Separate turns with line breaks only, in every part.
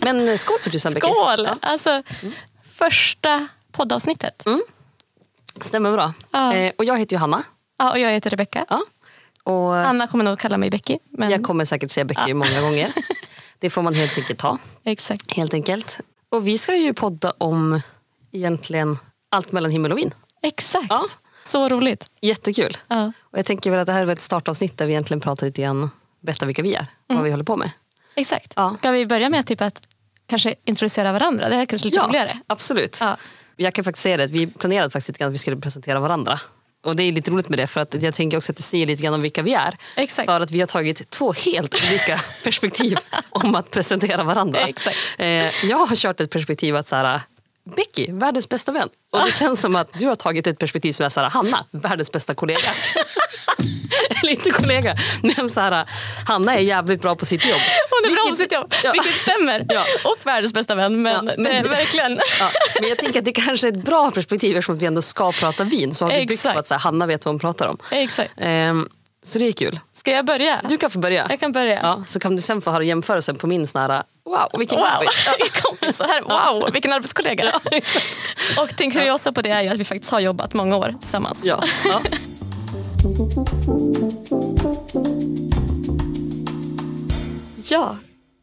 Men eh, skål för tusan Becker.
Skål! Alltså,
Mm.
första poddavsnittet.
Stämmer bra.
Ja.
Eh, och jag heter Johanna.
Ja, och jag heter Rebecka.
Ja. Och
Anna kommer nog kalla mig Becky. Men...
jag kommer säkert säga Becker många gånger. Det får man helt enkelt ta.
Exakt.
Helt enkelt. Och vi ska ju podda om egentligen allt mellan himmel och vin.
Exakt.
Ja.
Så roligt.
Jättekul.
Ja.
Och jag tänker väl att det här är ett startavsnitt där vi egentligen pratar lite grann, berättar vilka vi är,
Mm.
vad vi håller på med.
Exakt.
Ja.
Ska vi börja med typ att kanske introducera varandra? Det här är kanske lite roligare.
absolut.
Ja.
Jag kan faktiskt säga det, att vi planerade faktiskt lite grann att vi skulle presentera varandra. Och det är lite roligt med det för att jag tänker också att det säger lite grann om vilka vi är.
Exakt.
För att vi har tagit två helt olika perspektiv om att presentera varandra.
Exakt.
Eh, jag har kört ett perspektiv att så här, Becky, världens bästa vän. Och det känns som att du har tagit ett perspektiv som är så här, Hanna, världens bästa kollega. Eller inte kollega, men så här, Hanna är jävligt bra på sitt jobb.
Hon är bra på
Vilket-
sitt jobb,
Ja.
vilket stämmer.
Ja.
Och världens bästa vän. Men,
Ja, men-
Det är verkligen.
Ja, men jag tänker att det kanske är ett bra perspektiv eftersom vi ändå ska prata vin. Så har vi byggt på
Exakt.
att så här, Hanna vet vad hon pratar om.
Exakt.
Ehm, så det är kul.
Ska jag börja?
Du kan få börja.
Jag kan börja.
Ja, så kan du sen få höra jämförelsen på min sån här, wow, vilken
Wow,
kompis. Ja,
vilken kompis. Så här, wow, vilken arbetskollega. och den kuriosa på det är ju att vi faktiskt har jobbat många år tillsammans.
Ja, ja.
Ja,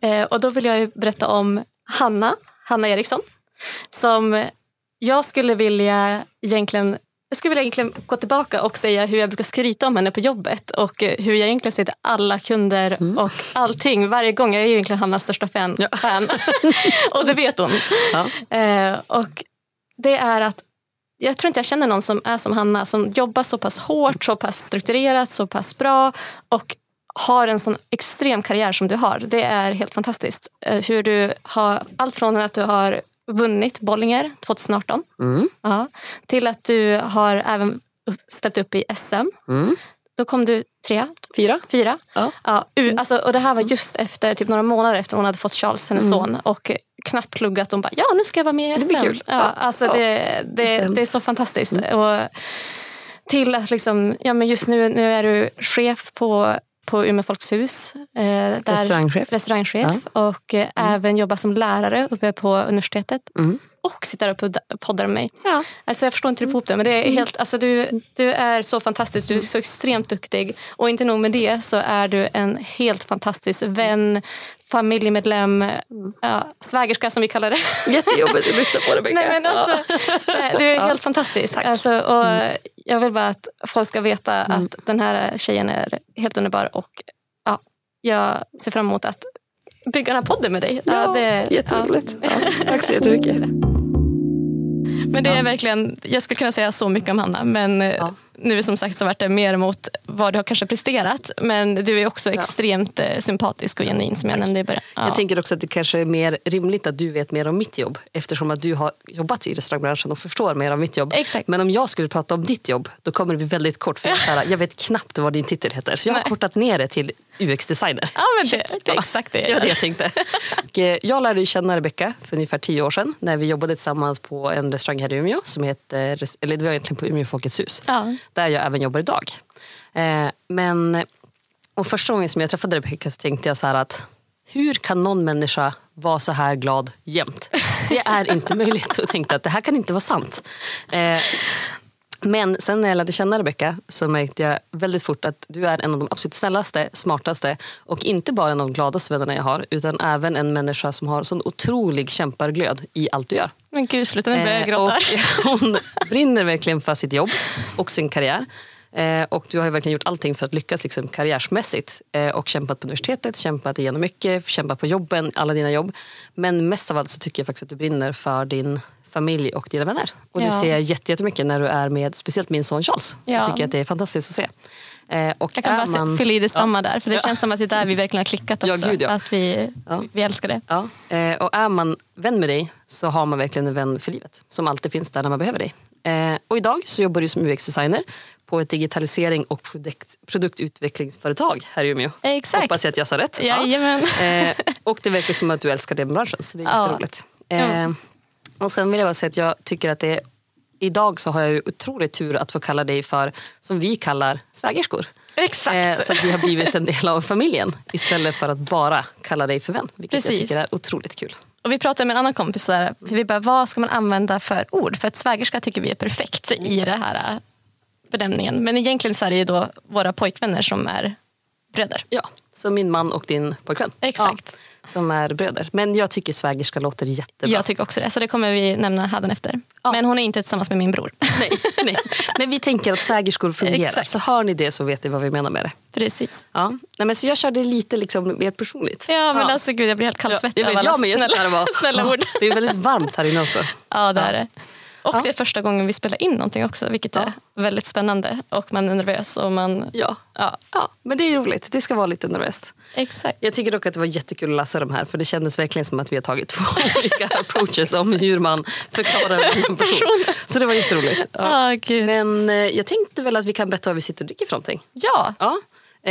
eh, och då vill jag ju berätta om Hanna, Hanna Eriksson, som jag skulle vilja egentligen jag skulle vilja egentligen gå tillbaka och säga hur jag brukar skryta om henne på jobbet och eh, hur jag egentligen ser till alla kunder och allting varje gång. Jag är ju egentligen Hannas största fan. fan. och det vet hon.
Ja.
Eh, och det är att jag tror inte jag känner någon som är som Hanna, som jobbar så pass hårt, så pass strukturerat, så pass bra och har en sån extrem karriär som du har. Det är helt fantastiskt. Eh, Hur du har, allt från att du har vunnit Bollinger 2018
Mm,
ja, till att du har även upp- ställt upp i SM.
mm.
Då kom du trea,
Fyra.
fyra.
Ja. Mm.
Ja, u- alltså, och det här var just efter, typ några månader efter hon hade fått Charles, hennes
Mm.
son, och eh, knappt pluggat. Hon bara, ja nu ska jag vara med i
Det
SM.
blir kul.
Ja,
Ja.
Alltså,
Ja.
Det, det, det är
Jättehemskt. Mm.
så fantastiskt. Och till att liksom, ja men just nu, nu är du chef på, på Umeå Folks hus. Eh, där,
Restaurangchef.
restaurangchef och eh, även jobbar som lärare uppe på universitetet.
Mm.
Och sitter och podd- poddar med mig.
Ja.
Alltså jag förstår inte hur du får ihop det, men det är
Mm.
helt, alltså du, du är så fantastisk, du är så extremt duktig. Och inte nog med det så är du en helt fantastisk vän, familjemedlem,
Mm.
ja, svägerska som vi kallar det.
Jättejobbigt att lyssna på det, Becka.
Nej, men
Ja. Mm.
alltså, nej, du är helt fantastisk. Alltså, och Jag vill bara att folk ska veta att den här tjejen är helt underbar och ja, jag ser fram emot att bygga den här podden med dig. Ja, det-
Jätteroligt. Ja. Tack så jättemycket.
Men det är verkligen, jag skulle kunna säga så mycket om Hanna, men eh,
Ja.
nu som sagt så vart det mer mot vad du har kanske presterat. Men du är också extremt eh, sympatisk och genuin som jag nämnde i början. Ja.
Jag tänker också att det kanske är mer rimligt att du vet mer om mitt jobb eftersom att du har jobbat i restaurangbranschen och förstår mer om mitt jobb.
Exakt.
Men om jag skulle prata om ditt jobb då kommer det bli väldigt kort för jag, är så här, jag vet knappt vad din titel heter så jag har
Nej.
kortat ner det till UX-designer.
Ja, men det, det är exakt det jag
Det var det
gör.
jag tänkte. Och, eh, jag lärde ju känna Rebecka för ungefär tio år sedan när vi jobbade tillsammans på en restaurang här i Umeå som heter, eller det var egentligen på Umeå Folkets hus,
Ja.
där jag även jobbar idag. Eh, men och första gången som jag träffade Rebecka så tänkte jag så här att hur kan någon människa vara så här glad jämt? Det är inte möjligt. Och tänkte att det här kan inte vara sant. Eh, men sen när jag lärde känna Rebecka så märkte jag väldigt fort att du är en av de absolut snällaste, smartaste och inte bara en av de gladaste vännerna jag har utan även en människa som har sån otrolig kämparglöd i allt du gör.
Men gud, sluta nu börjar jag
Eh,
gråta.
och hon brinner verkligen för sitt jobb och sin karriär. Eh, och du har ju verkligen gjort allting för att lyckas liksom, karriärsmässigt. Eh, och kämpat på universitetet, kämpat igenom mycket, kämpat på jobben, alla dina jobb. Men mest av allt så tycker jag faktiskt att du brinner för din familj och dina vänner. Och det
Ja.
ser jag jätte- jättemycket när du är med speciellt min son Charles. Så
Ja.
jag tycker att det är fantastiskt att se. Eh, och
Jag kan
är
bara se-
man-
fylla i detsamma där, för det känns som att det är där vi verkligen har klickat
Ja,
också.
gud, ja.
Att vi,
Ja.
vi älskar det.
Ja, eh, och är man vän med dig så har man verkligen en vän för livet som alltid finns där när man behöver dig. Eh, Och idag så jobbar du som UX-designer på ett digitalisering och produkt, produktutvecklingsföretag här i Umeå.
Exakt.
Hoppas jag att jag sa rätt.
Jajamän.
Eh, Och det verkar som att du älskar den branschen så det är
Ja.
jätteroligt. Eh, Och sen vill jag bara säga att jag tycker att det är idag så har jag ju otroligt tur att få kalla dig för, som vi kallar, svägerskor.
Exakt.
Eh, så att vi har blivit en del av familjen istället för att bara kalla dig för vän. Vilket
Precis.
jag tycker är otroligt kul.
Och vi pratade med en annan kompis, så här, vi bara, vad ska man använda för ord? För att svägerska tycker vi är perfekt i den här äh, benämningen. Men egentligen så är det ju då våra pojkvänner som är bröder.
Ja, så min man och din pojkvän.
Exakt.
Ja, som är bröder. Men jag tycker svägerska låter jättebra.
Jag tycker också det, så det kommer vi nämna hädanefter.
Ja.
Men hon är inte tillsammans med min bror.
nej, nej. Men vi tänker att svägerskor fungerar.
Exakt.
Så hör ni det så vet ni vad vi menar med det.
Precis.
Ja. Nej, men så jag körde lite liksom mer personligt.
Ja men alltså gud jag blir helt kallsvettig
jag vet,
av alla
jag med. Jag
snälla,
snälla, bara,
snälla ord.
Det är väldigt varmt här inne också.
Ja det är det. Och
Ja.
det är första gången vi spelar in någonting också vilket är väldigt spännande. Och man är nervös och man...
Ja.
Ja,
ja, men det är roligt. Det ska vara lite nervöst.
exakt.
Jag tycker dock att det var jättekul att läsa de här för det kändes verkligen som att vi har tagit två olika approaches om hur man förklarar en person. Så det var jätteroligt. Ja.
Ja, gud.
Men eh, jag tänkte väl att vi kan berätta vad vi sitter och dricker för någonting.
Ja,
Ja.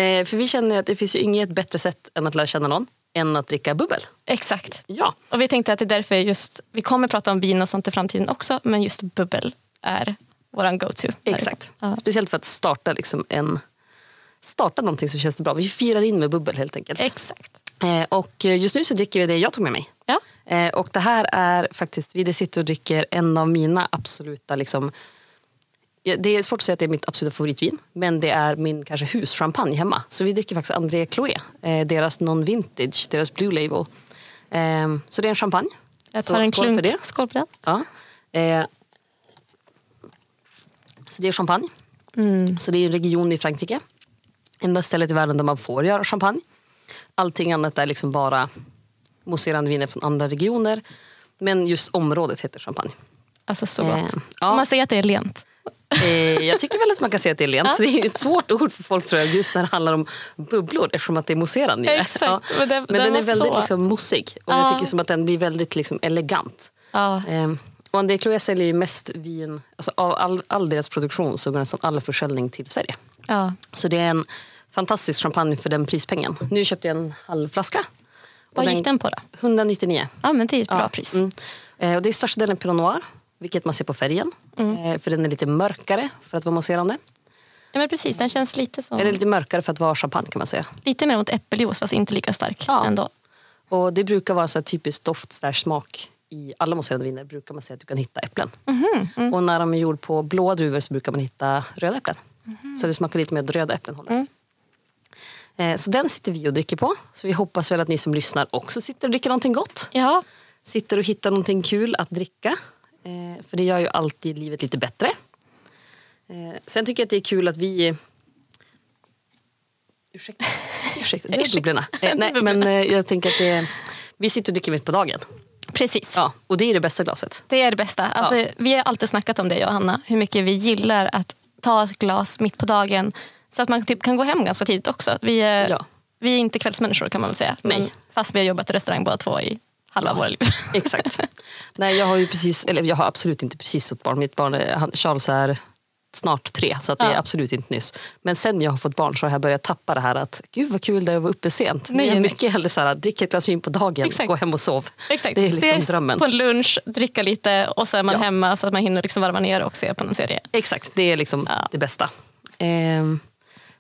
Eh, för vi känner ju att det finns ju inget bättre sätt än att lära känna någon än att dricka bubbel.
exakt.
Ja,
Och vi tänkte att det är därför just, vi kommer prata om vin och sånt i framtiden också, men just bubbel är våran go-to.
exakt.
Ja.
Speciellt för att starta liksom en starta någonting som känns bra. Vi firar in med bubbel helt enkelt.
Exakt.
Eh, och just nu så dricker vi det jag tog med mig.
Ja.
Eh, och det här är faktiskt, vi sitter och dricker en av mina absoluta, liksom, ja, det är svårt att säga att det är mitt absoluta favoritvin, men det är min kanske huschampagne hemma. Så vi dricker faktiskt André Chloé, eh, deras non-vintage, deras Blue Label. Eh, så det är en champagne.
Jag
Så
tar en
skål
klunk.
för det.
Skål på den.
Ja. Eh, så det är champagne.
Mm.
Så det är en region i Frankrike. Enda stället i världen där man får göra champagne. Allting annat är liksom bara mousserande viner från andra regioner. Men just området heter champagne.
Alltså så gott.
Eh, ja.
Man säger att det är lent.
Eh, jag tycker väl att man kan säga att det är lent. Så Det är ett svårt ord för folk tror jag, just när det handlar om bubblor eftersom att det är mousserande. i det.
Exakt.
Men,
Men den- den
den är
var
väldigt
så-
liksom, mossig. Och jag
Ja.
tycker som att den blir väldigt liksom, elegant.
Ja.
Ehm, Och André Chloé säljer ju mest vin, alltså av all, all deras produktion så går nästan all försäljning till Sverige.
Ja.
Så det är en fantastisk champagne för den prispengen. Nu köpte jag en halv flaska. Och
Vad gick den på då?
199.
Ja men det är ett bra pris.
Mm. Eh, Och det är största delen Pinot Noir, vilket man ser på färgen.
Mm.
Eh, För den är lite mörkare för att vara mousserande.
Ja, men precis, den känns lite som,
Eller lite mörkare för att vara champagne kan man säga.
lite mer mot äppeljuice fast inte lika stark
Ja.
ändå.
Och det brukar vara så här typiskt doft slash smak i alla mousserande viner brukar man säga att du kan hitta äpplen. Och när de är gjord på blåa druvor så brukar man hitta röda äpplen. Så det smakar lite mer åt röda äpplenhållet. Eh, Så den sitter vi och dricker på. Så vi hoppas väl att ni som lyssnar också sitter och dricker någonting gott.
Ja,
Sitter och hittar någonting kul att dricka. Eh, För det gör ju alltid livet lite bättre. Eh, Sen tycker jag att det är kul att vi... Ursäkta, Ursäkta det är bubblorna. Eh, Nej, men eh, jag tänker att det... Vi sitter och dricker mitt på dagen.
precis.
Ja, och det är det bästa glaset.
Det är det bästa. Alltså, Vi har alltid snackat om det, jag och Hanna, hur mycket vi gillar att ta ett glas mitt på dagen så att man typ kan gå hem ganska tidigt också. Vi är,
Ja.
vi är inte kvällsmänniskor kan man väl säga, men
Nej.
fast vi har jobbat i restaurang båda två i halva våra liv.
Exakt. Nej, jag har ju precis, eller jag har absolut inte precis fått barn. Mitt barn, är- han, Charles är snart tre, så att det är
Ja.
absolut inte nyss. Men sen jag har fått barn så har jag börjat tappa det här att gud vad kul det är att vara uppe sent. Nej,
Nej,
jag är
nej.
mycket hellre så här, drick ett glas vin på dagen,
Exakt.
gå hem och sov.
Exakt.
Det är liksom
Ses
drömmen.
på lunch, dricka lite och så är man
Ja.
hemma så att man hinner liksom varva ner och se på någon serie.
Exakt, det är liksom
Ja.
det bästa. Ehm,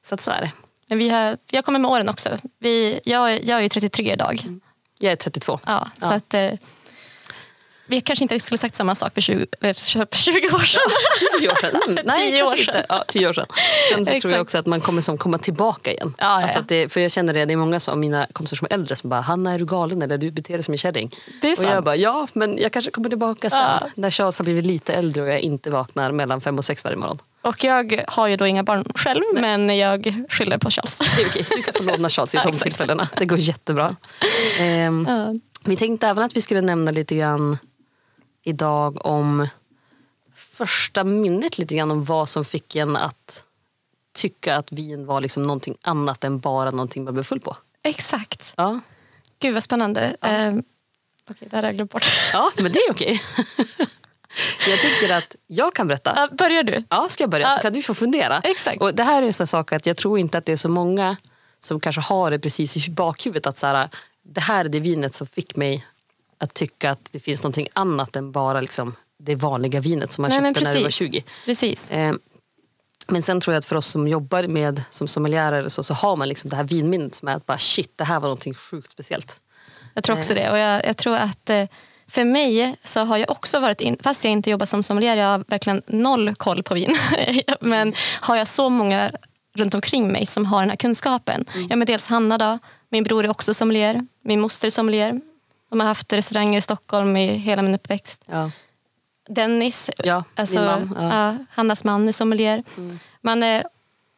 så att så är det.
Men vi har, jag kommer med åren också. Vi, jag, är- jag är ju 33 idag.
Mm. Jag är 32.
Ja, Så att, eh, vi kanske inte skulle sagt samma sak för 20, eller för 20 år sedan.
20 år sedan. Mm, nej,
Tio år
kanske
sedan.
Inte. Ja, tio år sedan. Sen så tror jag
Exakt.
också att man kommer som komma tillbaka igen.
Ja, ja, ja.
Alltså att det, för jag känner det, det är många som- av mina kompisar som är äldre som bara “Hanna, är du galen eller du beter dig som en kärring?”
Det är
Och jag
sant.
bara “Ja, men jag kanske kommer tillbaka sen
Ja.
när Charles har blivit lite äldre och jag inte vaknar mellan fem och sex varje morgon.”
Och jag har ju då inga barn själv, men jag skyller på Charles.
Det är okej, du kan få låna Charles i de
Exakt.
tillfällena. Det går jättebra. Ehm,
Ja.
Vi tänkte även att vi skulle nämna lite grann idag om första minnet lite grann om vad som fick en att tycka att vin var liksom någonting annat än bara någonting man blev full på.
Exakt.
Ja,
Gud vad spännande. Ehm, Ja. Okej, det här har jag glömt bort.
ja men det är okej. jag tycker att jag kan berätta.
Ja, börjar du?
Ja, ska jag börja så
Ja.
kan du få fundera.
Exakt.
Och det här är en sån sak att jag tror inte att det är så många som kanske har det precis i bakhuvudet att så här, det här är det vinet som fick mig att tycka att det finns någonting annat än bara liksom det vanliga vinet som man
Nej, men
köpte när du var
precis.
20.
Precis.
Eh, Men sen tror jag att för oss som jobbar med som sommelier eller så, så har man liksom det här vinminnet som är att bara shit, det här var någonting sjukt speciellt.
Jag tror också det. Och jag, jag tror att eh, för mig så har jag också varit in, fast jag inte jobbar som sommelier, jag har verkligen noll koll på vin. men har jag så många runt omkring mig som har den här kunskapen. Ja, men dels Hanna då, min bror är också sommelier, min moster är sommelier. De har haft restauranger i Stockholm i hela min uppväxt.
Ja,
Dennis,
ja
alltså,
min man. Ja. Mm.
ja, Hannas man är sommelier. Man är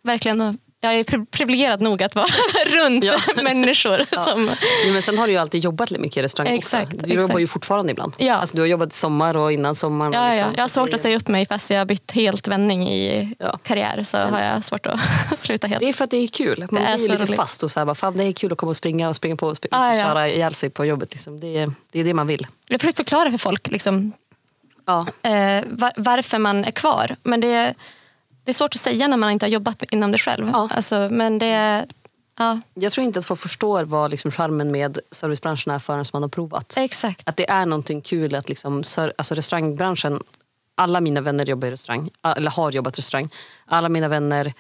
verkligen, jag är pri- privilegierad nog att vara runt
Ja.
människor som
Jo, men sen har du ju alltid jobbat lite mycket i restaurang
Exakt,
också. Du
exakt.
jobbar ju fortfarande ibland.
Ja.
Alltså, du har jobbat i sommar och innan sommaren. och
Ja,
liksom,
ja. Jag har
så
svårt
det-
att säga upp mig fast jag har bytt helt vändning i
Ja. Mm.
karriär så har jag svårt att sluta helt.
Det är för att det är kul. Man
är
blir ju
så
lite
roligt.
fast och så här, bara, fan det är kul att komma och springa och springa på och springa,
Ah,
liksom,
ja.
köra ihjäl sig på jobbet. Liksom. Det, är, det är det man vill.
Jag har försökt förklara för folk liksom,
Ja,
eh, var, varför man är kvar men det är, det är svårt att säga när man inte har jobbat inom det själv.
Ja.
Alltså, men det är, ja,
jag tror inte att folk förstår vad liksom, charmen med servicebranschen är förrän man har provat.
exakt.
att det är någonting kul att liksom, sör- alltså restaurangbranschen, alla mina vänner jobbar i restaurang, a- eller har jobbat i restaurang. Alla mina vänner,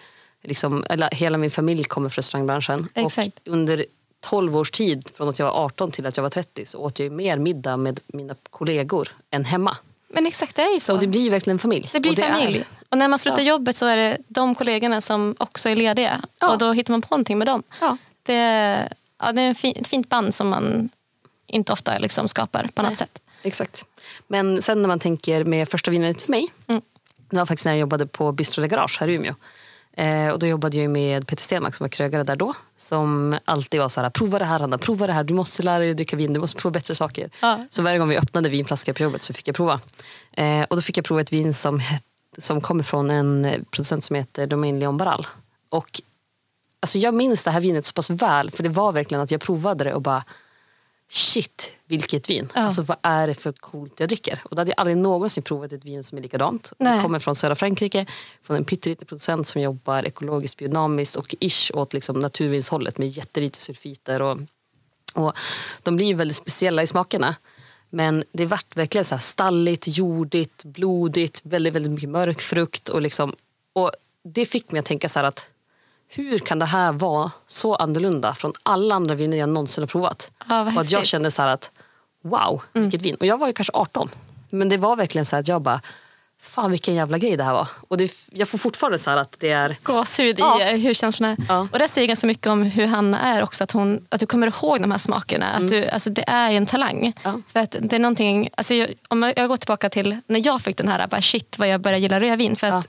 liksom, eller hela min familj kommer från restaurangbranschen.
Exakt.
Och under 12 års tid, från att jag var 18 till att jag var 30, så åt jag ju mer middag med mina kollegor än hemma.
Men exakt, det är ju så.
Och det blir ju verkligen familj.
Det blir
och det
familj.
Är,
Och när man slutar
Ja.
jobbet så är det de kollegorna som också är lediga.
Ja.
Och då hittar man på någonting med dem.
Ja.
Det, är- ja, det är en fin, ett fint band som man inte ofta liksom skapar på annat sätt.
exakt. Men sen när man tänker med första vinet för mig,
Mm.
Det var faktiskt när jag jobbade på Bistro Le Garage här i Umeå. Eh, och då jobbade jag ju med Peter Stenmark som var krögare där då. Som alltid var så här, prova det här Hanna, prova det här. Du måste lära dig att dricka vin, du måste prova bättre saker.
Ja.
Så varje gång vi öppnade vinflaskor på jobbet så fick jag prova. Eh, och då fick jag prova ett vin som, het, som kommer från en producent som heter Domaine Leon Barral. Och alltså jag minns det här vinet så pass väl, för det var verkligen att jag provade det och bara shit, vilket vin.
Ja.
Alltså vad är det för coolt jag dricker? Och då hade jag aldrig någonsin provat ett vin som är likadant. Och Det
Nej.
kommer från södra Frankrike, från en pytteliten producent som jobbar ekologiskt, biodynamiskt och ish åt liksom naturvinshållet med jättelite sulfiter. Och, och de blir ju väldigt speciella i smakerna. Men det vart verkligen så här stalligt, jordigt, blodigt, väldigt, väldigt mycket mörk frukt. Och, liksom, och det fick mig att tänka så här att hur kan det här vara så annorlunda från alla andra viner jag någonsin har provat?
Ja, vad
och att jag
häftigt. Mm.
kände så här att wow, vilket vin. Och jag var ju kanske 18. Men det var verkligen så här att jag bara, fan vilken jävla grej det här var. Och det, jag får fortfarande så här att det är,
gåshud
Ja.
i eh, hur känslorna är.
Ja.
Och det säger ganska mycket om hur Hanna är också. Att, hon, att du kommer ihåg de här smakerna. Att du, alltså det är ju en talang.
Mm. Ja.
För att det är någonting, alltså jag, om jag jag går tillbaka till när jag fick den här, bara shit vad jag började gilla rödvin. För att,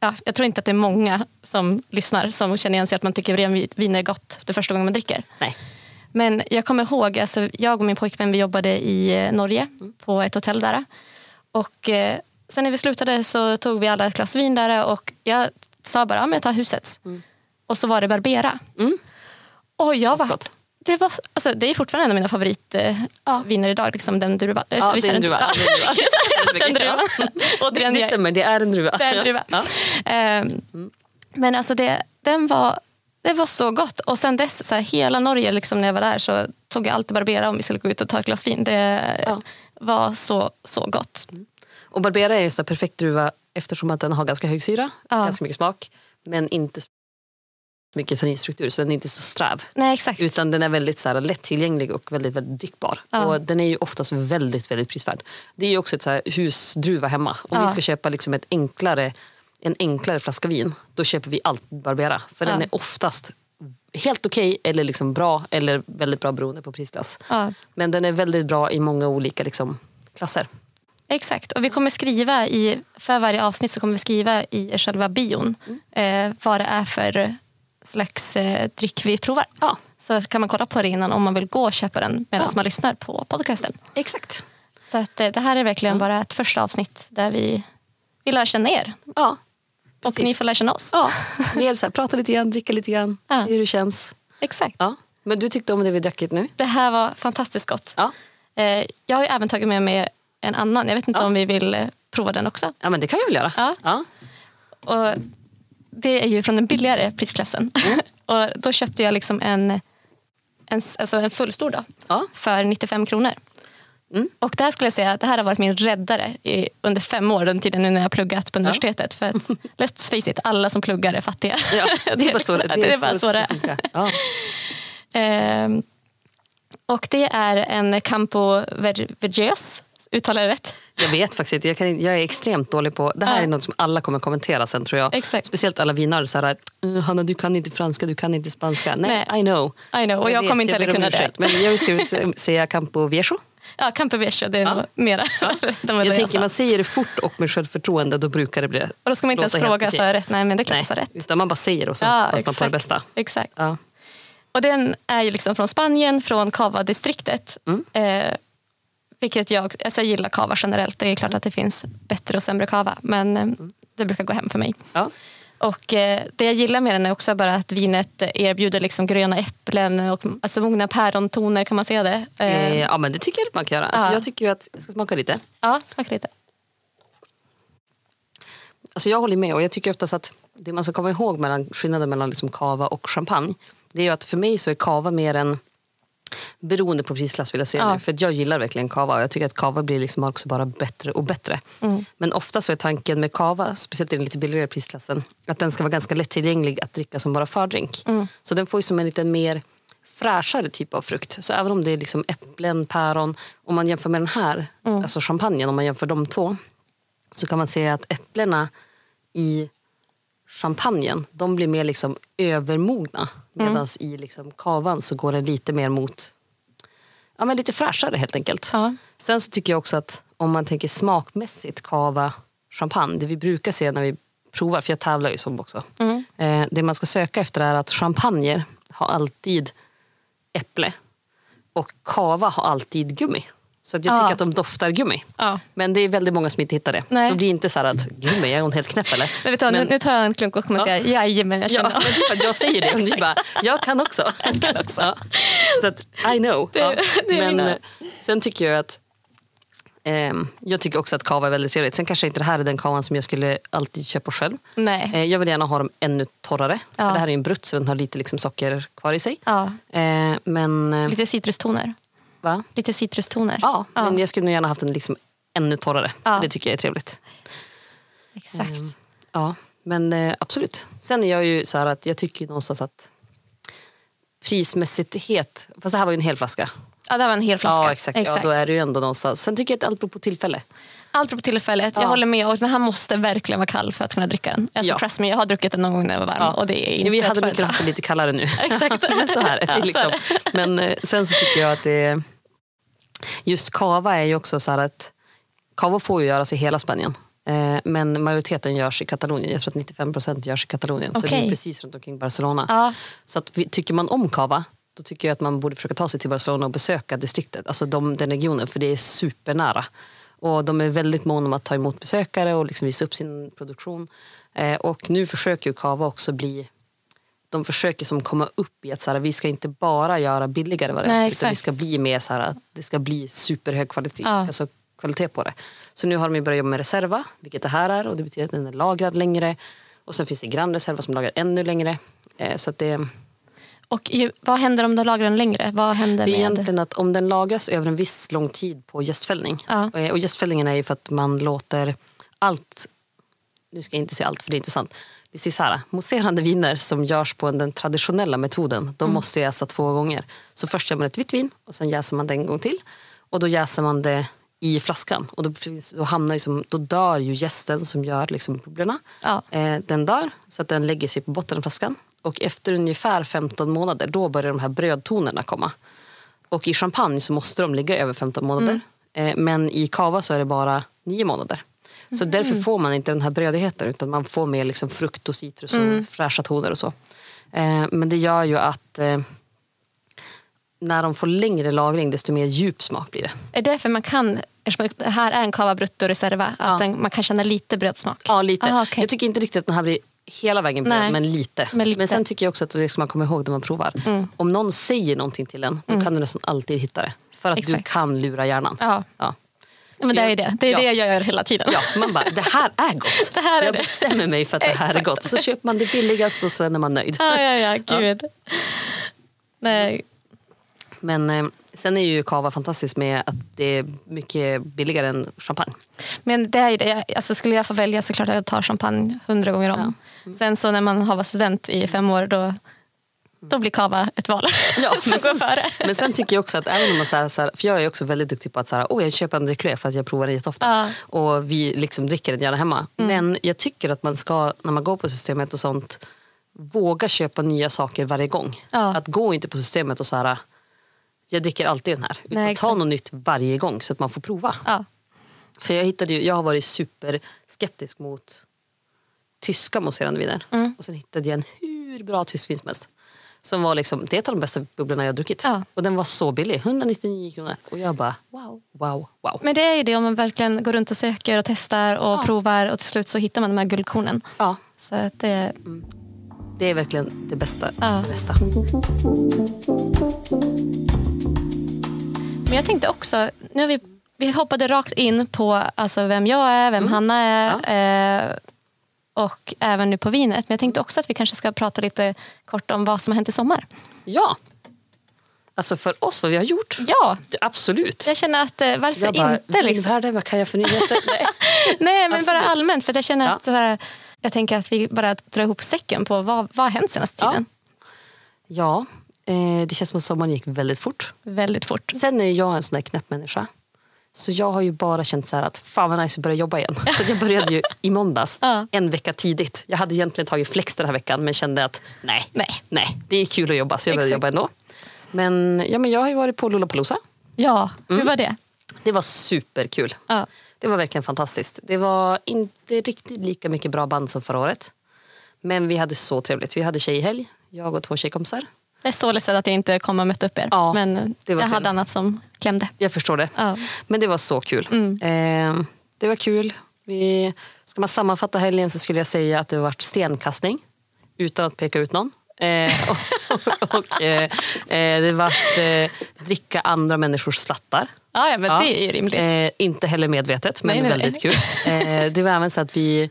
ja. jag tror inte att det är många som lyssnar som känner igen sig att man tycker rödvin är gott det första gången man dricker.
nej,
Men jag kommer ihåg, alltså, jag och min pojkvän vi jobbade i eh, Norge på ett hotell där. Och eh, sen när vi slutade så tog vi alla ett glas vin där och jag sa bara, ja men jag tar husets. Och så var det Barbera. Och jag
så
var,
gott.
det, var, alltså, det är fortfarande en av mina favoritviner idag, liksom den druva. eh,
Ja,
visst
det är en druva.
Ja,
Det är en druva.
den druvan.
Det,
Återigen,
det
jag-
stämmer, det är en druva.
det är en druva.
Ja.
Ehm, Men alltså det, den var, det var så gott. Och sen dess, så här, hela Norge liksom, när jag var där så tog jag alltid Barbera om vi skulle gå ut och ta ett glas vin. Det
Ja. Mm.
var så, så gott.
Och Barbera är ju så här perfekt druva eftersom att den har ganska hög syra,
Ja.
ganska mycket smak, men inte så mycket tanninstruktur, så den är inte så sträv.
Nej, exakt.
Utan den är väldigt så här, lättillgänglig och väldigt, väldigt drickbar.
Ja.
Och den är ju oftast väldigt, väldigt prisvärd. Det är ju också ett så här husdruva hemma. Om
Ja.
vi ska köpa liksom ett enklare, en enklare flaska vin, då köper vi allt Barbera. För den
Ja.
är oftast helt okej eller liksom bra eller väldigt bra beroende på prisklass.
Ja,
Men den är väldigt bra i många olika liksom, klasser.
exakt. Och vi kommer skriva i, för varje avsnitt så kommer vi skriva i själva bion
Mm.
eh, vad det är för slags eh, dryck vi provar.
Ja,
Så kan man kolla på det innan om man vill gå och köpa den medan
Ja.
man lyssnar på podcasten.
exakt.
Så att, eh, det här är verkligen bara ett första avsnitt där vi, vi lär känna er
Ja,
och
Precis.
ni får lära känna oss.
Ja, mer så här, prata lite grann, dricka lite grann,
Ja.
se hur det känns.
Exakt.
Ja. Men du tyckte om det vi drack lite nu?
Det här var fantastiskt gott.
Ja.
Eh, Jag har ju även tagit med mig en annan. Jag vet inte
Ja.
om vi vill eh, prova den också.
Ja, men det kan vi väl göra.
Ja.
Ja.
Och det är ju från den billigare prisklassen.
Mm.
och då köpte jag liksom en, en, s- alltså en fullstor då,
Ja.
för 95 kronor.
Mm.
Och det här skulle jag säga, det här har varit min räddare i, under fem år, den tiden nu när jag har pluggat på universitetet. För att, let's face it, alla som pluggar är fattiga.
Ja,
det, är liksom, det är bara så det är.
funkar. Ja.
Ehm, och det är en Campo Ver- Vergeus, uttalar jag rätt?
Jag vet faktiskt inte. Jag, kan, in- jag är extremt dålig på... Det här
Ja.
är något som alla kommer kommentera sen tror jag.
Exakt.
Speciellt alla vinare. Så här, "Eh, Hanna, du kan inte franska, du kan inte spanska. Nej, I know.
I know, och jag,
vet,
kommer inte heller
ber om
kunna det.
ursäkt, Men jag skulle se- säga Campo Viejo.
Ja, Campo Vergeus, det är nog mera rätt än
Jag
vad jag
tänker
sa.
man säger det fort och med självförtroende då brukar det bli
Och då ska man inte ens
låta helt
fråga,
okej.
så jag rätt? Nej, men det är klart
Nej,
jag sa rätt.
utan man bara säger och så
Ja,
hoppas man på det bästa.
Exakt.
Ja.
Och den är ju liksom från Spanien, från Cava-distriktet.
Mm.
Eh, vilket jag, alltså jag gillar Cava generellt. Det är klart att det finns bättre och sämre Cava, men eh,
Mm.
det brukar gå hem för mig.
Ja.
Och eh, det jag gillar med den är också bara att vinet erbjuder liksom gröna äpplen och alltså mogna pärontoner kan man säga det. Eh,
Eh, ja, men det tycker jag att man kan göra. Alltså,
Ja.
jag tycker ju att jag ska smaka lite.
ja, smaka lite.
Alltså jag håller med och jag tycker oftast att det man ska komma ihåg mellan skillnaden mellan liksom kava och champagne det är ju att för mig så är kava mer en beroende på prisklass vill jag säga
Ja.
nu, för att jag gillar verkligen kava och jag tycker att kava blir liksom också bara bättre och bättre. Men ofta så är tanken med kava, speciellt i den lite billigare prisklassen, att den ska vara ganska lättillgänglig att dricka som bara fördrink. Så den får ju som en lite mer fräschare typ av frukt. Så även om det är liksom äpplen, päron, om man jämför med den här, alltså champagnen, om man jämför de två, så kan man se att äpplena i champagnen, de blir mer liksom övermogna.
Mm.
Medan i liksom kavan så går den lite mer mot, ja men lite fräschare helt enkelt.
Ja.
Sen så tycker jag också att om man tänker smakmässigt kava, champagne, det vi brukar se när vi provar, för jag tävlar ju som också.
Mm.
Eh, det man ska söka efter är att champagne har alltid äpple och kava har alltid gummi. Så att jag tycker
Ja.
att de doftar gummi.
Ja.
Men det är väldigt många som inte hittar det.
Nej.
Så bli inte så här att gummi, är hon helt knäpp eller?
Men vet du, vad,
Men-
nu, nu tar jag en klunk och kommer säga jajamän, jag
Ja,
känner
men det är för att jag säger det och ni bara, jag kan också. Ja. Så att, I know. Ja.
det är
Men
mina.
eh, sen tycker jag att ehm, jag tycker också att kava är väldigt trevligt. Sen kanske inte det här är den kavan som jag skulle alltid köpa själv.
Nej.
Eh, jag vill gärna ha dem ännu torrare.
Ja.
För det här är ju en brutt så den har lite liksom socker kvar i sig.
Ja.
Eh, men, eh,
Lite citrustoner.
va?
Lite citrustoner.
Ja, men jag skulle nog gärna haft den liksom ännu torrare.
Ja.
Det tycker jag är trevligt.
Exakt.
Mm. Ja, men eh, absolut. Sen är jag ju så här att jag tycker ju någonstans att prismässighet, fast det här var ju en hel flaska.
Ja, det här var en hel flaska.
Ja, exakt. Ja, då är det ju ändå någonstans. Sen tycker jag att allt beror på tillfälle.
Allt på tillfället. Jag
Ja.
håller med. Och den här måste verkligen vara kall för att kunna dricka den. Alltså,
Ja.
trust me, jag har druckit den någon gång när jag var varm.
Ja.
Och det är inte
Vi
att
hade nog
föredra.
kunnat haft det lite kallare nu.
Exakt.
men så här.
Ja, så är
liksom. Men eh, sen så tycker jag att det Just kava är ju också så här att Kava får ju göras i hela Spanien. Eh, Men majoriteten görs i Katalonien. Jag tror att 95 procent görs i Katalonien. Så det är
Okej.
precis runt omkring Barcelona.
Ja.
Så att, vi- tycker man om kava, då tycker jag att man borde försöka ta sig till Barcelona och besöka distriktet, alltså de, den regionen, för det är supernära. Och de är väldigt måna om att ta emot besökare och liksom visa upp sin produktion. Eh, och nu försöker ju kava också bli de försöker som komma upp i att så här, vi ska inte bara göra billigare
Nej,
varianter utan vi
exakt.
ska bli mer så här, att det ska bli superhög kvalitet,
Ja.
alltså kvalitet på det. Så nu har de ju börjat jobba med Reserva, vilket det här är och det betyder att den är lagrad längre. Och sen finns det Grand Reserva som lagrar ännu längre. Eh, så att det,
Och ju, vad händer om du lagrar den längre? Vad händer
det är
med...
egentligen att om den lagras över en viss lång tid på jästfällning.
Ja.
Eh, Och jästfällningen är ju för att man låter allt, nu ska jag inte säga allt för det är inte sant. Det är så här, mousserande viner som görs på den traditionella metoden,
Mm.
de måste jäsa två gånger. Så först gör man ett vitt vin och sen jäser man det en gång till. Och då jäser man det i flaskan och då, finns, då, hamnar ju som, då dör ju jästen som gör liksom bubblorna.
Ja.
Eh, den dör så att den lägger sig på botten av flaskan. Och efter ungefär 15 månader då börjar de här brödtonerna komma. Och i champagne så måste de ligga över 15 månader. Eh, Men i kava så är det bara 9 månader. Så därför får man inte den här brödigheten utan man får mer liksom frukt och citrus och fräscha toner och så. Eh, Men det gör ju att eh, när de får längre lagring desto mer djup smak blir det.
Är det för man kan... eftersom Det här är en cava brutto reserva. Att den, man kan känna lite brödsmak.
Ja, lite.
Aha, okej.
Jag tycker inte riktigt att den här blir hela vägen bröd,
Nej.
men lite.
Men lite. Mm.
sen tycker jag också att det ska man komma ihåg när man provar. Om någon säger någonting till en, då kan du nästan alltid hitta det. För att du
Exakt.
kan lura hjärnan.
Ja.
Ja.
Men det är ju det. Det är
Ja.
det jag gör hela tiden.
Ja, man bara, det här är gott.
Det här är
jag
det.
bestämmer mig för att det här är
Exakt.
gott. Så köper man det billigaste
Ah,
och sen är man nöjd.
ja, ja, ja gud. Nej.
Men eh, Sen är ju kava fantastiskt med att det är mycket billigare än champagne.
Men det är ju det. Jag- Alltså skulle jag få välja så klart att jag tar champagne hundra gånger om.
Mm.
Sen så när man har varit student i fem år då, då blir kava ett val
Ja,
som
men
går
sen-
före.
Men sen tycker jag också att även om man så här, så här, för jag är också väldigt duktig på att så här, oh, jag köper en Driclé för att jag provar den jätteofta.
Ja. Mm.
Och vi liksom dricker den gärna hemma. Men jag tycker att man ska, när man går på systemet och sånt, våga köpa nya saker varje gång.
Ja.
Att gå inte på systemet och så här, jag dricker alltid den här. Utan
Nej,
ta
exakt.
något nytt varje gång så att man får prova.
Ja.
För jag, hittade ju, jag har varit superskeptisk mot tyska mousserande viner.
Mm.
Och sen hittade jag en hur bra tysk vin som helst. Som var liksom, det är ett av de bästa bubblorna jag har druckit.
Ja.
Och den var så billig, 199 kronor. Och jag bara wow, wow, wow.
Men det är ju det om man verkligen går runt och söker och testar och provar och till slut så hittar man de här guldkornen.
Ja,
Så att det,
Mm. det är verkligen det bästa.
Ja.
Det bästa.
Men jag tänkte också, nu har vi, vi hoppade rakt in på alltså vem jag är,
Mm.
vem Hanna är eh, och även nu på vinet. Men jag tänkte också att vi kanske ska prata lite kort om vad som har hänt i sommar.
Ja! Alltså för oss, vad vi har gjort.
Ja,
Absolut.
jag känner att eh, varför
Jag bara,
inte? Liksom.
världen, vad kan jag för nyheter? Nej.
Nej, men bara
Absolut.
allmänt. För att jag känner
Ja.
att så här, jag tänker att vi bara drar ihop säcken på vad, vad har hänt senaste
Ja.
tiden.
ja, eh, det känns som att sommaren gick väldigt fort.
Väldigt fort.
Sen är jag en sån där knäpp människa. Så jag har ju bara känt så här att fan vad nice att börja jobba igen. Så att jag började ju i måndags,
Ja.
en vecka tidigt. Jag hade egentligen tagit flex den här veckan men kände att nej,
Nej.
nej det är kul att jobba så jag började
Exakt.
jobba ändå. Men, ja, men jag har ju varit på Lollapalooza.
Ja,
Mm.
hur var det?
Det var superkul.
Ja.
Det var verkligen fantastiskt. Det var inte riktigt lika mycket bra band som förra året. Men vi hade så trevligt. Vi hade tjejhelg, jag och två tjejkompisar.
Jag är så ledsen att jag inte kom och mötte upp er.
Ja,
men
det var
jag
synd.
hade annat som klämde.
Jag förstår det.
Ja.
Men det var så kul. Eh, det var kul. Vi, ska man sammanfatta helgen så skulle jag säga att det har varit stenkastning utan att peka ut någon. Eh, och och eh, eh, det har varit eh, dricka andra människors slattar.
Ja, ja men
Ja.
det är ju rimligt.
Eh, inte heller medvetet, men
Nej, nej, nej.
väldigt kul. Eh, det var även så att vi...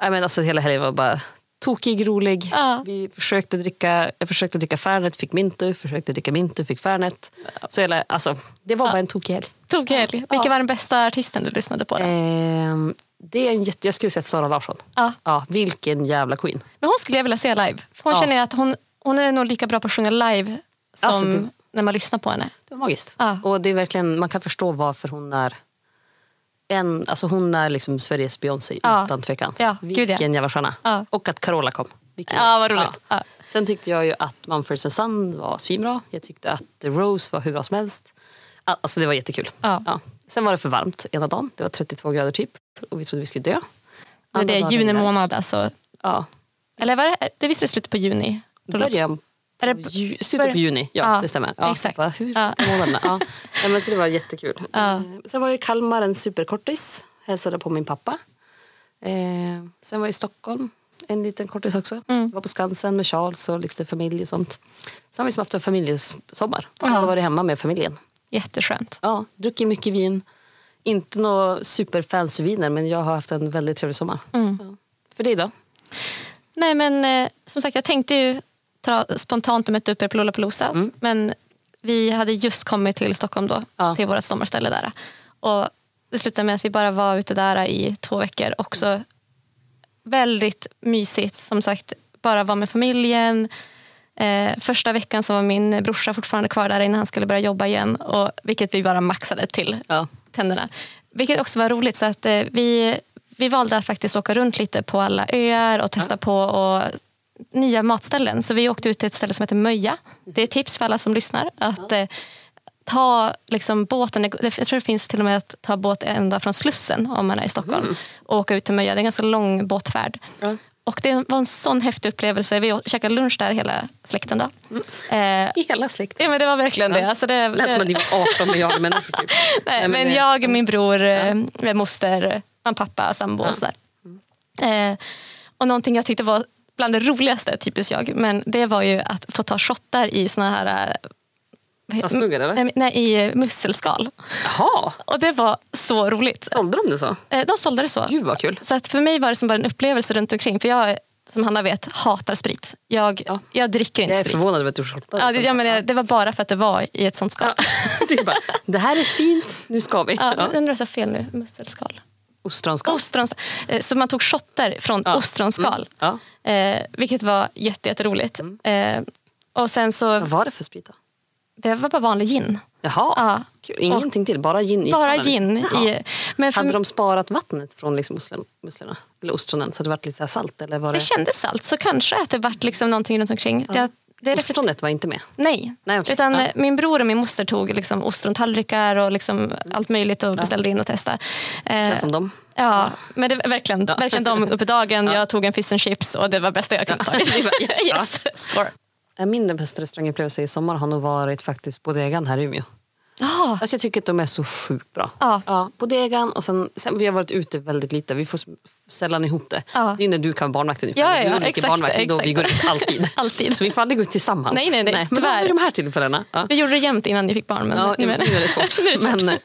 Nej, men alltså, hela helgen var bara tokig, rolig.
Ja.
Vi försökte dricka, jag försökte dricka Fernet, fick Mintu. Försökte dricka Mintu, fick Fernet. Så hela, alltså, det var bara en tokig helg.
Tog helg. Vilken
Ja.
var den bästa artisten du lyssnade på? Då?
Ehm, det är en jätte, jag skulle säga Sara Larsson.
Ja.
Ja, vilken jävla queen.
Men hon skulle jag vilja se live. För Hon
Ja.
känner att hon, hon är nog lika bra på att sjunga live som
Alltså, det-
när man lyssnar på henne.
Det var magiskt.
Ja.
Och det är verkligen, man kan förstå varför hon är en, alltså hon är liksom Sveriges Beyoncé
Ja.
utan tvekan.
Ja, gud, ja.
vilken jävla stjärna.
Ja.
Och att Carola kom. Vilken
Ja, vad roligt.
Ja.
Ja.
Sen tyckte jag ju att Mumford Sand var svinbra. Jag tyckte att Rose var hur bra som helst. Al- Alltså det var jättekul.
Ja.
Sen var det för varmt ena dagen. Det var 32 grader typ. Och vi trodde vi skulle dö.
Men det
Andra
är
dagen
juni
regnade.
månad alltså.
Ja.
Eller var det, det visste slutet på juni.
Då började
Är
på
det-
ju, slutet
börjar-
på juni, ja,
Ja,
det stämmer. Ja,
exakt.
Bara, hur
Ja.
månaderna? Ja. Nej, men så det var jättekul. Eh, Sen var jag i Kalmar en superkortis, hälsade på min pappa. Eh, sen var jag i Stockholm, en liten kortis också.
Mm.
Var på Skansen med Charles och liksom familj och sånt. Sen har vi som haft en familjesommar. Då har jag varit hemma med familjen.
Jätteskönt.
Ja, druckit mycket vin. Inte några superfans viner men jag har haft en väldigt trevlig sommar.
Mm.
Ja. För dig då?
Nej men eh, som sagt jag tänkte ju ta, spontant möta upp er på Lollapalooza.
Mm.
Men vi hade just kommit till Stockholm då.
Ja.
Till vårt sommarställe där. Och det slutade med att vi bara var ute där i två veckor. Också väldigt mysigt. Som sagt bara vara med familjen. Eh, första veckan så var min brorsa fortfarande kvar där innan han skulle börja jobba igen. Och, vilket vi bara maxade till
Ja.
tänderna. Vilket också var roligt. Så att, eh, vi, vi valde att faktiskt åka runt lite på alla öar och testa på och nya matställen. Så vi åkte ut till ett ställe som heter Möja. Det är ett tips för alla som lyssnar. Att eh, ta liksom, båten, det- jag tror det finns till och med att ta båt ända från Slussen om man är i Stockholm och åka ut till Möja. Det är en ganska lång båtfärd.
Mm. Ja.
Och det var en sån häftig upplevelse. Vi å- käkade lunch där hela släkten. Då. Eh,
Hela släkten.
ja, men det var verkligen det. Alltså, det,
Mm. Lät som
det
att ni var 18 miljarder människor. Typ.
Nej,
Nej,
men,
det-
jag, min bror, ja. moster, min pappa, sambo och sådär. Eh, och någonting jag tyckte var bland det roligaste, typiskt jag, men det var ju att få ta shottar i såna här... eh, vad heter-
Plastmuggar, eller?
Nej, nej, i eh, musselskal.
Jaha,
Och det var så roligt.
sålde de det så?
Eh, de sålde det så.
Gud vad kul.
Så att för mig var det som bara en upplevelse runt omkring. För jag som Hanna vet, hatar sprit. Jag,
Ja.
jag dricker inte
Jag är
sprit.
förvånad över att du skjortar.
Ja, det, ja, men det, det var bara för att det var i ett sånt skal. Ja.
du bara, det här är fint, nu ska vi.
Ja,
Ja.
Jag undrar så fel nu. Musselskal.
Ostronskal.
Ostronskal. Eh, Så man tog shotter från
Ja. Mm.
ostronskal.
Ja.
Eh, vilket var jätte, jätteroligt.
Mm.
Eh, och sen så,
Vad var det för sprit då?
det var bara vanlig gin.
Jaha,
Ja.
Kul. ingenting till, bara gin i
Bara
skalen.
gin.
Jaha.
I, men för,
Hade de sparat vattnet från liksom musslorna, musslorna, eller ostronen så det varit lite så här salt? Eller var det...
det kändes salt så kanske att det vart liksom någonting runt omkring. Det, det är
Ostronet var inte med?
Nej.
Nej, okej.
Utan
Ja.
eh, Min bror och min moster tog liksom ostrontallrikar och liksom allt möjligt och beställde in och testade. Eh,
Mm. Känns som dem.
Ja, men det var verkligen, verkligen de uppe i dagen. Jag tog en fish and chips och det var bästa jag kunde ta.
Det var jättebra.
yes, score.
Eh, Min den bästa restaurangupplevelse i sommar har nog varit faktiskt Bodegan här i Umeå.
Ah,
Alltså jag tycker att de är så sjukt bra.
Ja.
Bodegan och sen, sen, vi har varit ute väldigt lite, vi får s- sällan ihop det.
Ja.
Det är när du kan barnvakt ungefär.
Ja,
När du
ja,
och Ulrik är
exakt,
barnvakt, det är då vi
exakt.
går ut alltid.
Alltid.
Så vi får aldrig gå ut tillsammans.
Nej, nej, nej,
men det
tyvärr.
var ju de här tillfällena. Ja.
vi gjorde det jämt innan ni fick barn. Men
Ja,
nu,
nu,
men,
är det svårt.
nu är det svårt.
Men,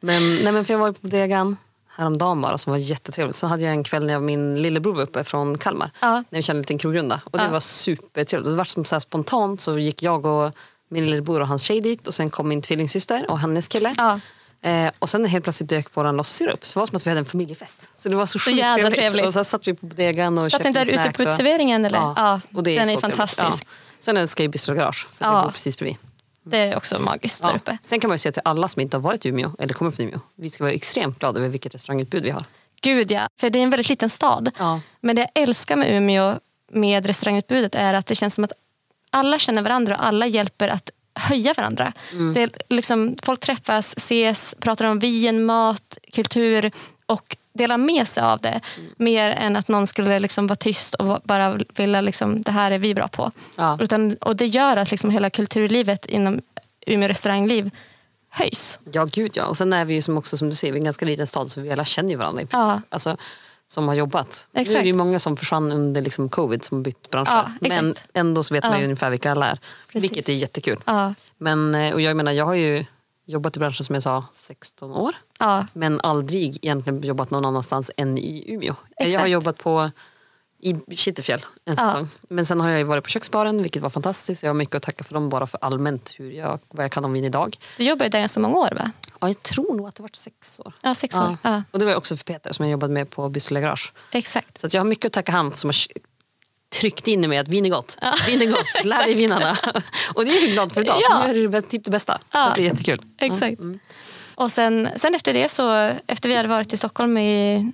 men, nej, men för jag var på Degan häromdagen bara som var jättetrevligt. Sen hade jag en kväll när jag, min lillebror var uppe från Kalmar.
Ja.
När vi körde en liten krogrunda. Och det
Ja.
var supertrevligt. Och Det var som så här spontant så gick jag och min lillebror och hans tjej dit. Och sen kom min tvillingsyster och hennes kille.
Ja.
Eh, och sen helt plötsligt dök vår losssyra upp. Så det var som att vi hade en familjefest. Så det var så, så
jävla
trevligt.
trevligt.
Och sen satt vi på Bodegan och
Satt ni där ute på
snacks och-
uteserveringen? Eller?
Ja, och det är
den är
så trevligt.
fantastisk.
Ja. Sen älskar jag Bistro Garage, för
Ja.
det bor precis bredvid.
Det är också magiskt där uppe.
Sen kan man ju säga till alla som inte har varit i Umeå, eller kommer från Umeå, vi ska vara extremt glada över vilket restaurangutbud vi har.
Gud ja, för det är en väldigt liten stad.
Ja.
Men det jag älskar med Umeå med restaurangutbudet är att det känns som att alla känner varandra och alla hjälper att höja varandra.
Mm.
Det är liksom, folk träffas, ses, pratar om vin, mat, kultur och delar med sig av det.
Mm.
Mer än att någon skulle liksom vara tyst och bara vilja, liksom, det här är vi bra på.
Ja.
Utan, och det gör att liksom hela kulturlivet inom Umeå restaurangliv höjs.
Ja, gud ja. Och sen är vi ju som också, som du säger, vi är en ganska liten stad så vi alla känner ju varandra i princip.
Ja.
Alltså, som har jobbat. Nu är
Exakt.
det ju många som försvann under liksom covid som har bytt branscher.
Ja, exakt.
Men ändå så vet man ju
Ja.
ungefär vilka alla är.
Precis.
Vilket är jättekul.
Ja,
Men, eh, och jag menar, jag har ju jobbat i branschen som jag sa 16 år.
ja,
Men aldrig egentligen jobbat någon annanstans än i Umeå. Jag har
Exakt.
jobbat på i Kittelfjäll en
Ja.
säsong. Men sen har jag ju varit på köksbaren vilket var fantastiskt. Jag har mycket att tacka för dem bara för allmänt hur jag, vad jag kan om vin idag.
du jobbar ju där ganska många år va?
Ja, jag tror nog att det varit sex år.
Ja, sex år.
Ja.
Ja,
Och det var ju också för Peter som jag jobbade med på Byssle Garage.
exakt.
Så att jag har mycket att tacka han som har tryckt in i mig att vin är gott. Vin är gott, lär dig vinnarna. och det är jag ju glad för idag.
Ja.
Nu är det bä- typ det bästa. Så
Ja.
att det är jättekul.
Exakt.
Mm.
Och sen, sen efter det, så, efter vi hade varit i Stockholm i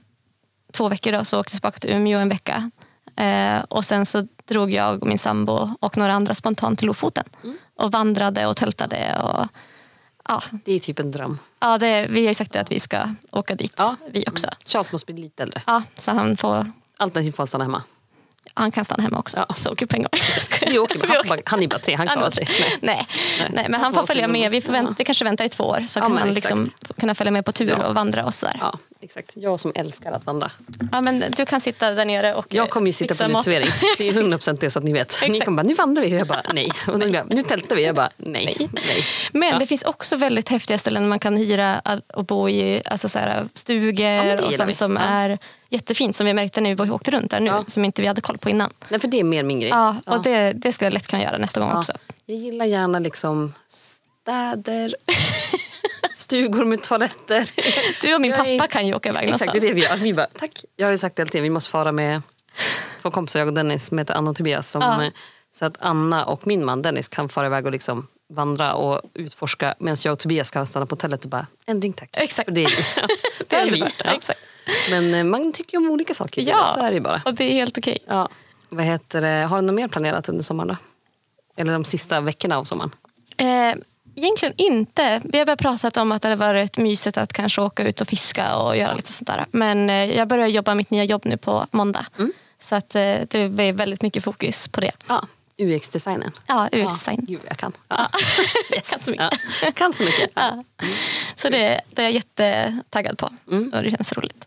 två veckor då, så åkte jag tillbaka till Umeå en vecka. Eh, och sen så drog jag och min sambo och några andra spontant till Lofoten.
Mm.
Och vandrade och tältade. Och, ja,
Det är typ en dröm.
ja det, vi har ju sagt det att vi ska åka dit,
Ja.
vi också.
Charles måste bli lite äldre.
Ja, så han, får,
Alternativt får han stanna hemma.
han kan stanna hemma också. Så åker vi på en gång.
Vi åker med. Han, får bara, han är bara tre, han klarar sig. Nej. Alltså,
Nej. Nej. men han
får
får
vara
följa
sin
med. Vi, får vänta, vi kanske väntar i två år så kan
men
han liksom kunna följa med på tur och vandra och sådär.
Ja, exakt. Jag som älskar att vandra. Eh,
Ja, men du kan sitta där nere och
Jag kommer ju sitta
fixa
på en
mat.
uteservering. Det är 100% det så att ni vet. Ni
Exakt.
kommer bara, nu vandrar vi. Jag bara, nej. Och de bara, nu tältar vi. Jag bara, nej. nej.
Men det finns också väldigt häftiga ställen man kan hyra att- och bo i. Alltså så här, stugor
det
och
gillar vi.
sånt som
Ja.
är jättefint. Som vi märkte när vi åkte runt där nu.
Ja.
Som inte vi hade koll på innan.
Nej, för det är mer min grej.
Ja, och Det, det ska jag lätt kunna göra nästa gång
Ja.
också.
Jag gillar gärna liksom städer, stugor med toaletter.
Du och min
Jag är-
pappa kan ju åka iväg
Exakt, det är
någonstans.
det vi gör. Vi bara, tack. Jag har ju sagt det hela tiden, vi måste fara med två kompisar, jag och Dennis, som heter Anna och Tobias. Som, eh,
Ja.
Så att Anna och min man Dennis kan fara iväg och liksom vandra och utforska medan jag och Tobias kan stanna på hotellet och bara, en drink tack.
Exakt.
För det är vi. Det är vi.
underbart.
Ja.
Exakt.
Men eh, man tycker ju om olika saker i
Ja.
livet, så är det ju bara.
Och det är helt okej.
Ja. Vad heter det? Har du något mer planerat under sommaren då? Eller de sista veckorna av sommaren?
Eh, egentligen inte. Vi har bara pratat om att det hade varit mysigt att kanske åka ut och fiska och göra lite sånt där. Men eh, jag börjar jobba mitt nya jobb nu på måndag.
Mm.
Så att, eh, det blir väldigt mycket fokus på det.
Ja, UX-designen.
Ja, UX-design.
Gud, jag kan. Ja.
kan så
Ja.
mycket.
Kan så mycket. Ja.
Så det, det är jag jättetaggad på
Mm.
och det känns roligt.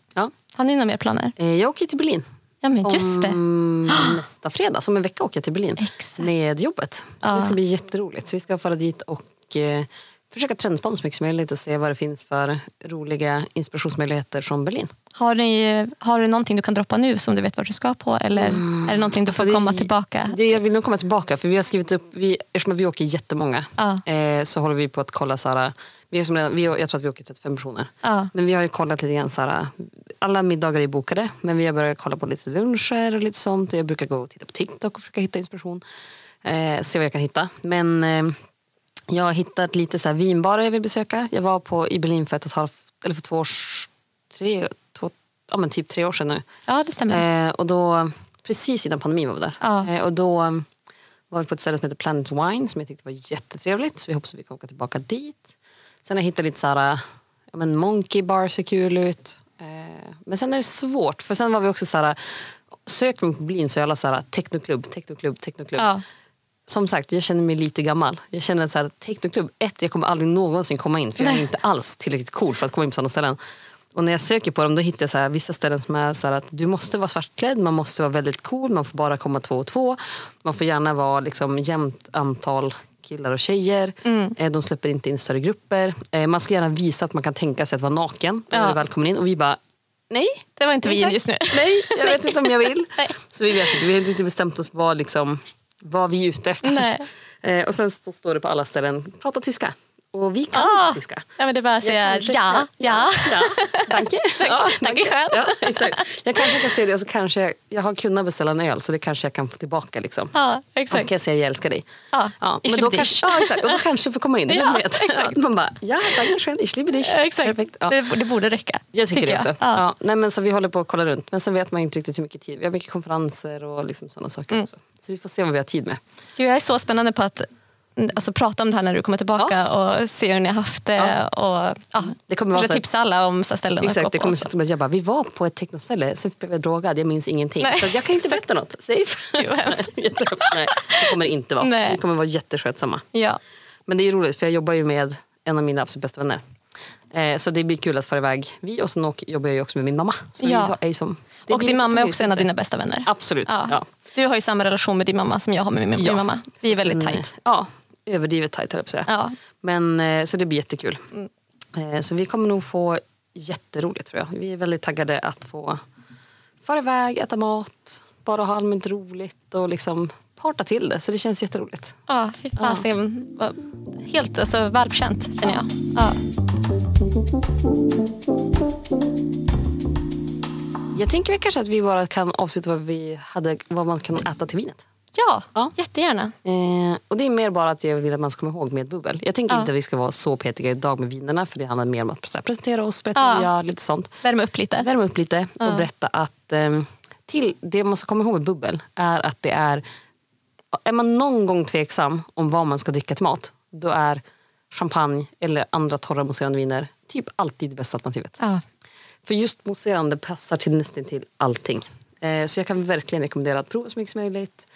Har ni några mer planer?
Eh, Jag åker till Berlin.
Ja, men just det.
Om nästa fredag, som en vecka åker jag till Berlin
Exakt.
med jobbet. Så
Ja.
Det ska bli jätteroligt. Så vi ska fara dit och eh, försöka trendspana så mycket som möjligt och se vad det finns för roliga inspirationsmöjligheter från Berlin.
Har, ni, har du någonting du kan droppa nu som du vet vart du ska på eller är det någonting du
Alltså,
får
det-
komma tillbaka?
Det, jag vill nog komma tillbaka för vi har skrivit upp, vi, eftersom vi åker jättemånga
Ja.
eh, så håller vi på att kolla, så här, vi är som redan, vi, jag tror att vi åker 35 personer.
Ja.
Men vi har ju kollat lite grann, så här, alla middagar är bokade men vi har börjat kolla på lite luncher och lite sånt. Jag brukar gå och titta på TikTok och försöka hitta inspiration. Eh, se vad jag kan hitta. Men eh, jag har hittat lite så här vinbarer jag vill besöka. Jag var på, i Berlin för, ett och ett halvt, eller för två år, tre, två, ja, men typ tre år sedan nu.
ja, det stämmer.
Eh, och då, precis innan pandemin var vi där.
Ja.
Eh, och då um, var vi på ett ställe som heter Planet Wine som jag tyckte var jättetrevligt. Så vi hoppas att vi kan åka tillbaka dit. Sen har jag hittat lite så här, ja, men Monkey Bar ser kul ut. Eh, men sen är det svårt, för sen var vi också så här, sök mig på Blin så är alla så här, technoklubb, technoklubb, technoklubb.
ja.
Som sagt, jag känner mig lite gammal. Jag känner att så här, technoklubb, ett, jag kommer aldrig någonsin komma in för jag är
Nej.
inte alls tillräckligt cool för att komma in på sådana ställen. Och när jag söker på dem då hittar jag så här, vissa ställen som är så här att du måste vara svartklädd, man måste vara väldigt cool, man får bara komma två och två. Man får gärna vara liksom jämnt antal killar och tjejer.
Mm.
Eh, De släpper inte in större grupper. Eh, Man ska gärna visa att man kan tänka sig att vara naken när
Ja.
du väl kommer in. Och vi bara, nej,
Det var inte vi in
tack.
just nu.
Nej, jag vet inte om jag vill.
Nej.
Så vi vet inte, vi har inte riktigt bestämt oss vad, liksom, vad vi är ute efter.
Nej.
Eh, och sen så står det på alla ställen, prata tyska. Och vi kan
Ah.
inte tyska.
Ja, men det är bara att
Jag
säga
kan försöka-
ja, ja.
ja. Danke. Ja,
Danke själv.
Ja, exakt. Jag kanske kan se det och så kanske jag, jag har kunnat beställa en öl så det kanske jag kan få tillbaka. Liksom.
Ja,
Och så
exakt.
kan jag säga jag älskar dig.
Ja, ich
men
liebe
då
dich.
kanske, ja, exakt. Och då kanske jag får komma in.
Ja,
Vem vet?
exakt.
Man bara, ja, danke schön, ich liebe dich.
Ja, exakt.
Perfekt. Ja.
Det, det borde räcka.
Jag tycker, det också. Ja.
Ja.
nej, men så vi håller på att kolla runt. Men sen vet man inte riktigt hur mycket tid. Vi har mycket konferenser och liksom sådana saker
Mm.
också. Så vi får se vad vi har tid med.
Gud, jag är så spännande på att mm, alltså, prata om det här när du kommer tillbaka och se hur ni har haft det.
Ja.
Och, ja.
Det kommer vara
Eller
så här-
tipsa alla om så här ställen att gå
Exakt, det
på
kommer
och så.
se ut som att jag bara, vi var på ett technoställe, sen blev jag drogad, jag minns ingenting.
Nej,
Så att jag kan inte berätta något. Safe.
Gud, vad hemskt.
Jättehemskt. Nej, det kommer det inte vara.
Nej.
Vi kommer vara jätteskötsamma.
Ja.
Men det är ju roligt för jag jobbar ju med en av mina absolut bästa vänner. Eh, så det blir kul att fara iväg vi och sen åk- jobbar jag ju också med min mamma. Så vi
Ja.
så- är ju som, det
Och
blir
din mamma är också en av
förnyelse.
dina bästa vänner.
Absolut. Ja.
Ja. Du har ju samma relation med din mamma som jag har med min,
Ja.
min mamma. Vi är väldigt
Men,
tajt.
eh, Ja, överdrivet tajt höll jag på att säga.
Ja. Mm.
Men, eh, så det blir jättekul. Eh, Så vi kommer nog få jätteroligt tror jag. Vi är väldigt taggade att få fara iväg, äta mat, bara ha allmänt roligt och liksom parta till det. Så det känns jätteroligt.
Ja, fy fasen. Vad- Helt alltså, välförtjänt känner jag. Ja.
Jag tänker väl kanske att vi bara kan avsluta vad, vi hade, vad man kan äta till vinet.
Ja,
Ja.
jättegärna.
Eh, och det är mer bara att jag vill att man ska komma ihåg med bubbel. Jag tänker
Ja.
inte att vi ska vara så petiga idag med vinerna för det handlar mer om att så här, presentera oss, berätta
Ja.
vad vi gör, lite sånt.
Värma upp lite.
värma Eh, upp lite och berätta att ehm, till, det man ska komma ihåg med bubbel är att det är är man någon gång tveksam om vad man ska dricka till mat då är champagne eller andra torra mousserande viner typ alltid det bästa alternativet.
Ja.
För just mousserande passar till nästan till allting. Eh, så jag kan verkligen rekommendera att prova så mycket som möjligt.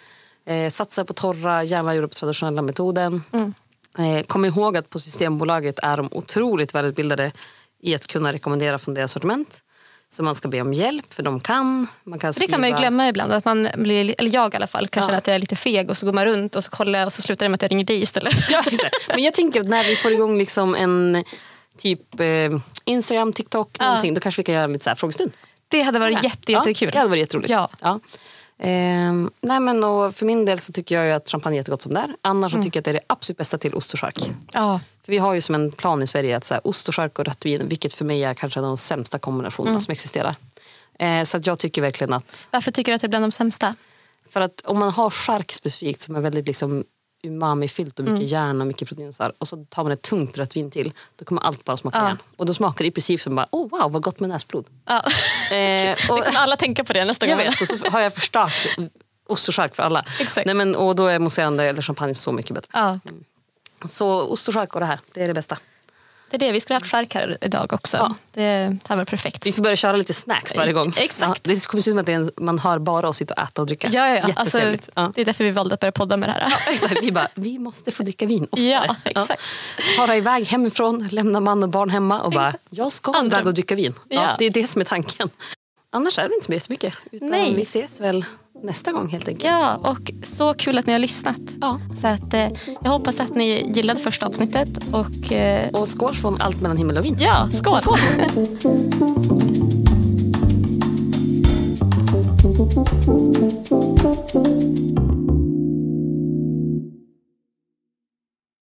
Eh, satsa på torra, gärna göra på traditionella metoden.
Mm.
Eh, kom ihåg att på Systembolaget är de otroligt välutbildade i att kunna rekommendera från deras sortiment. Så man ska be om hjälp, för de kan. Man kan
Det kan man ju
skriva-
glömma ibland. Att man blir, eller jag i alla fall kan
Ja.
känna att jag är lite feg och så går man runt och så kollar jag och så slutar det med att jag ringer dig istället.
Ja, exakt. Men jag tänker att när vi får igång liksom en typ eh, Instagram, TikTok, någonting, då kanske vi kan göra lite så här frågestund.
Det hade varit jätte, jättekul.
Ja, det hade varit jätteroligt.
Ja.
Ja. Ehm, nej men och för min del så tycker jag ju att champagne är jättegott som det är. Annars
Mm.
så tycker jag att det är det absolut bästa till ost och chark.
Ja.
För vi har ju som en plan i Sverige att så här, ost och chark och rött vin, vilket för mig är kanske de sämsta kombinationerna
Mm.
som existerar. Eh, så att jag tycker verkligen att,
Varför tycker du att det är bland de sämsta?
för att om man har chark specifikt som är väldigt liksom umami-fyllt och mycket
Mm.
järn och mycket protein och så här, och så tar man ett tungt rött vin till, då kommer allt bara smaka
Ja.
järn. Och då smakar det i princip som bara, oh wow vad gott med näsblod.
Ja.
Eh, och-
Det kommer alla tänka på det nästa
Jag
gång.
vet, och så har jag förstört ost och chark för alla.
Exakt.
Nej, men, och då är mousserande eller champagne så mycket bättre.
Ja.
Så ost och chark och det här, det är det bästa.
Det är det, vi skulle ha haft chark här idag också.
Ja.
Det här var perfekt.
Vi får börja köra lite snacks varje gång.
Exakt.
Ja, det kommer se ut som att det är en, man hör bara oss sitta och äta och dricka.
Ja, ja, ja. Alltså,
Jättetrevligt. ja.
Det är därför vi valde att börja podda med det här.
Exakt, vi bara, vi måste få dricka vin oftare.
Ja, exakt.
Fara iväg hemifrån, lämna man och barn hemma och bara, jag ska
Andra-
iväg och dricka vin. Ja,
Ja.
Det är det som är tanken. Annars är det inte så jättemycket. Utan
Nej.
Vi ses väl nästa gång helt enkelt.
Ja, och så kul att ni har lyssnat.
Ja.
Så att, eh, jag hoppas att ni gillade första avsnittet. Och eh,
Och skål från allt mellan himmel och vin.
ja, skål!